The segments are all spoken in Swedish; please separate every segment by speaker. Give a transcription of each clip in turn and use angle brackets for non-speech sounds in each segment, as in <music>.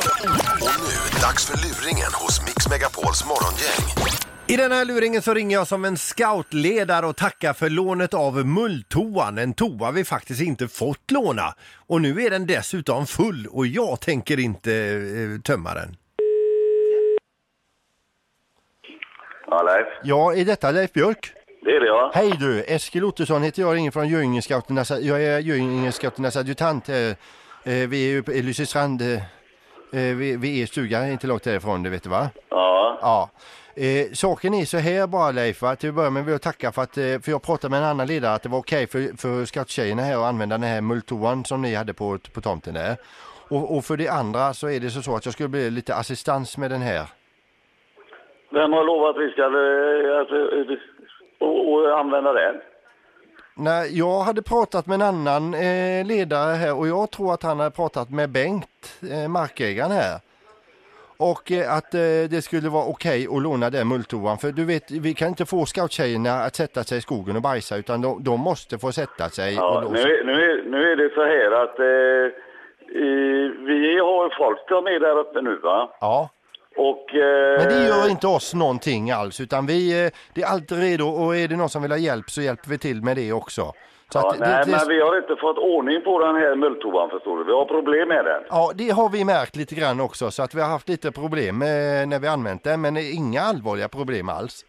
Speaker 1: Och nu, dags för luringen hos Mix Megapols morgongäng.
Speaker 2: I den här luringen så ringer jag som en scoutledare och tackar för lånet av mulltoan. En toa vi faktiskt inte fått låna. Och nu är den dessutom full och jag tänker inte eh, tömma den.
Speaker 3: Ja, Leif.
Speaker 2: Ja, är detta Leif Björk?
Speaker 3: Det är det, ja.
Speaker 2: Hej du, Eskil Ottosson heter jag, ringer från Göingescouternas, jag är Göingescouternas adjutant. eh, eh, Vi är ju på Lysestrand, eh, eh, vid vid er stuga, inte långt därifrån, det vet du va?
Speaker 3: Ja,
Speaker 2: Ja. Eh, saken är så här bara Leif, va? till att börja med vill jag tacka för att, eh, för jag pratade med en annan ledare att det var okej för, för scouttjejerna här att använda den här multoan som ni hade på, på tomten där. Och, och för det andra så är det så, så att jag skulle bli lite assistans med den här.
Speaker 3: vem har lovat att vi ska eh, att, eh, och, och använda den?
Speaker 2: Nej, jag hade pratat med en annan eh, ledare här och jag tror att han hade pratat med Bengt, eh, markägaren här. Och eh, att eh, det skulle vara okej att låna den mulltoan för du vet, vi kan inte få scouttjejerna att sätta sig i skogen och bajsa utan de, de måste få sätta sig. och
Speaker 3: Ja,
Speaker 2: då,
Speaker 3: nu, är- nu, är- nu är det så här att eh, eh, vi har folk som är där uppe nu, va?
Speaker 2: ja.
Speaker 3: Och... Eh,
Speaker 2: Men det gör inte oss någonting alls utan vi, eh, det är alltid redo och är det någon som vill ha hjälp så hjälper vi till med det också. Så
Speaker 3: Ja,
Speaker 2: att det,
Speaker 3: nej,
Speaker 2: det,
Speaker 3: men vi har inte fått ordning på den här mulltoan, förstår du. Vi har problem med den.
Speaker 2: Ja, det har vi märkt lite grann också så att vi har haft lite problem eh, när vi använt det men eh, inga allvarliga problem alls.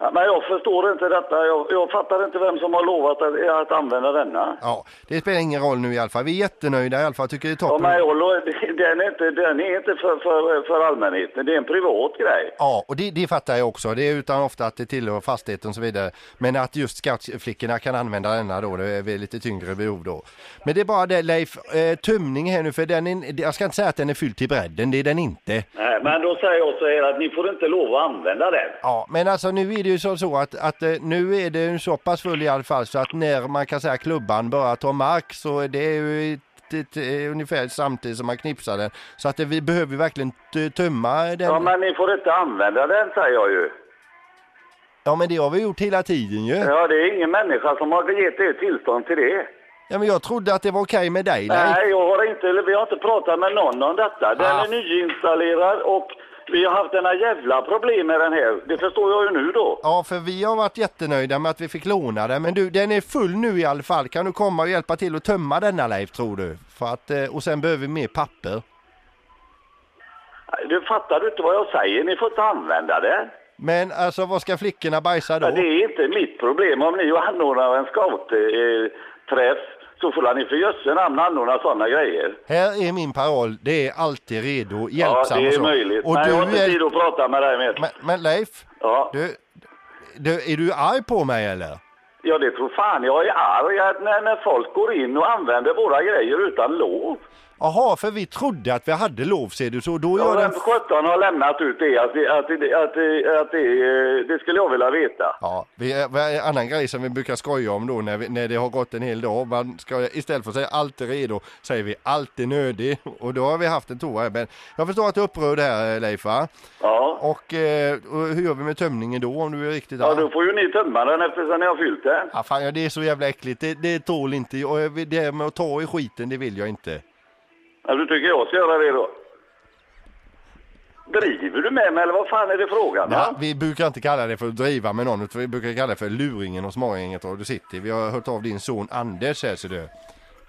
Speaker 3: Ja, men jag förstår inte detta. Jag, jag fattar inte vem som har lovat att, att använda denna.
Speaker 2: Ja, det spelar ingen roll nu i alla fall. Vi är jättenöjda i alla fall, tycker det är
Speaker 3: Ja,
Speaker 2: toppen.
Speaker 3: men jag, lo- <laughs> den är inte, den är inte för, för, för allmänheten. Det är en privat grej.
Speaker 2: Ja, och det, det fattar jag också. Det är utan ofta att det tillhör fastigheten och så vidare. Men att just scoutflickorna kan använda denna då, det är väl lite tyngre behov då. Men det är bara det Leif, eh, tömning här nu för den är, jag ska inte säga att den är fylld till bredden, det är den inte.
Speaker 3: Nej, men då säger jag så här att ni får inte lov att använda den.
Speaker 2: Ja, men alltså nu är det ju så, så att, att eh, nu är det ju så pass full i alla fall så att när man kan säga klubban börjar ta mark så är det ju ett, ett, eh, ungefär samtidigt som man knipsar den. Så att det, vi behöver ju verkligen t- tömma den.
Speaker 3: Ja, men ni får inte använda den, säger jag ju.
Speaker 2: Ja men det har vi gjort hela tiden ju. Ja,
Speaker 3: Ja, det är ingen människa som har gett er tillstånd till det.
Speaker 2: men jag trodde att det var okej med dig.
Speaker 3: Nej,
Speaker 2: Nej.
Speaker 3: jag har inte, eller vi har inte pratat med någon om detta. Den
Speaker 2: Ah.
Speaker 3: är nyinstallerad och vi har haft denna jävla problem med den här. Det förstår jag ju nu då.
Speaker 2: Ja för vi har varit jättenöjda med att vi fick låna den men du den är full nu i alla fall. Kan du komma och hjälpa till att tömma denna Leif tror du? För att, eh, och sen behöver vi mer papper.
Speaker 3: Du fattar du inte vad jag säger? Ni får inte använda den.
Speaker 2: Men alltså vad ska flickorna bajsa då?
Speaker 3: Ja, det är inte mitt problem. Om ni anordnar en scoutträff eh, träff, så får ni för jösse namn anordna sådana grejer.
Speaker 2: Här är min paroll, det är alltid redo,
Speaker 3: Ja,
Speaker 2: hjälpsam
Speaker 3: det
Speaker 2: och
Speaker 3: är
Speaker 2: så.
Speaker 3: möjligt.
Speaker 2: Och
Speaker 3: Men
Speaker 2: du
Speaker 3: jag har inte
Speaker 2: är...
Speaker 3: tid att prata med dig mer.
Speaker 2: men, men Leif,
Speaker 3: Ja.
Speaker 2: du, du, är du arg på mig eller?
Speaker 3: ja, det tror fan jag är arg att när, när folk går in och använder våra grejer utan lov.
Speaker 2: Jaha, för vi trodde att vi hade lov ser du, så då
Speaker 3: Ja,
Speaker 2: gör
Speaker 3: vem
Speaker 2: den...
Speaker 3: 17 har lämnat ut det? Att, det- att, det- att, det- att det, eh, det skulle jag vilja veta.
Speaker 2: Ja, vi, en annan grej som vi brukar skoja om då när, vi, när det har gått en hel dag. Man ska, istället för att säga alltid redo säger vi alltid nödig. Och då har vi haft en toa. här. Men jag förstår att du är upprörd här Leif va?
Speaker 3: Ja.
Speaker 2: Och, eh, och hur gör vi med tömningen då om du är riktigt
Speaker 3: Ja,
Speaker 2: arg?
Speaker 3: då får ju ni tömma den eftersom ni har fyllt den.
Speaker 2: Ja, fan, ja, det är så jävla äckligt. Det, det tål inte jag. Och jag vill- Det här med att ta i skiten, det vill jag inte.
Speaker 3: Ja, du tycker jag ska göra det då? Driver du med mig eller vad fan är det frågan?
Speaker 2: Ja,
Speaker 3: va?
Speaker 2: vi brukar inte kalla det för att driva med någon, utan vi brukar kalla det för luringen och småringen och du sitter. Vi har hört av din son Anders här, ser du.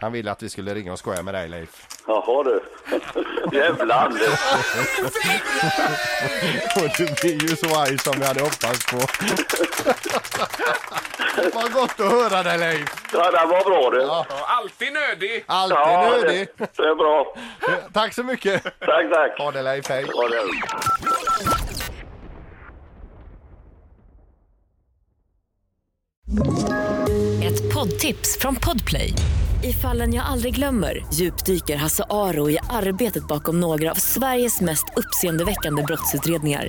Speaker 2: Han ville att vi skulle ringa och skoja med dig, Leif. <laughs>
Speaker 3: Jaha du. <laughs> Jävla Anders.
Speaker 2: Och du blir ju så arg som vi hade hoppats på. <laughs> Vad gott att höra dig, Leif.
Speaker 3: Ja, det var bra du. Ja,
Speaker 4: Ja, alltid nödig.
Speaker 2: Alltid
Speaker 3: det,
Speaker 2: nödig.
Speaker 3: det är bra.
Speaker 2: Tack så mycket.
Speaker 3: Tack, tack.
Speaker 2: Ha det, Leif. Hej.
Speaker 3: Ja, det är bra.
Speaker 5: Ett poddtips från Podplay. I fallen jag aldrig glömmer djupdyker Hasse Aro i arbetet bakom några av Sveriges mest uppseendeväckande brottsutredningar.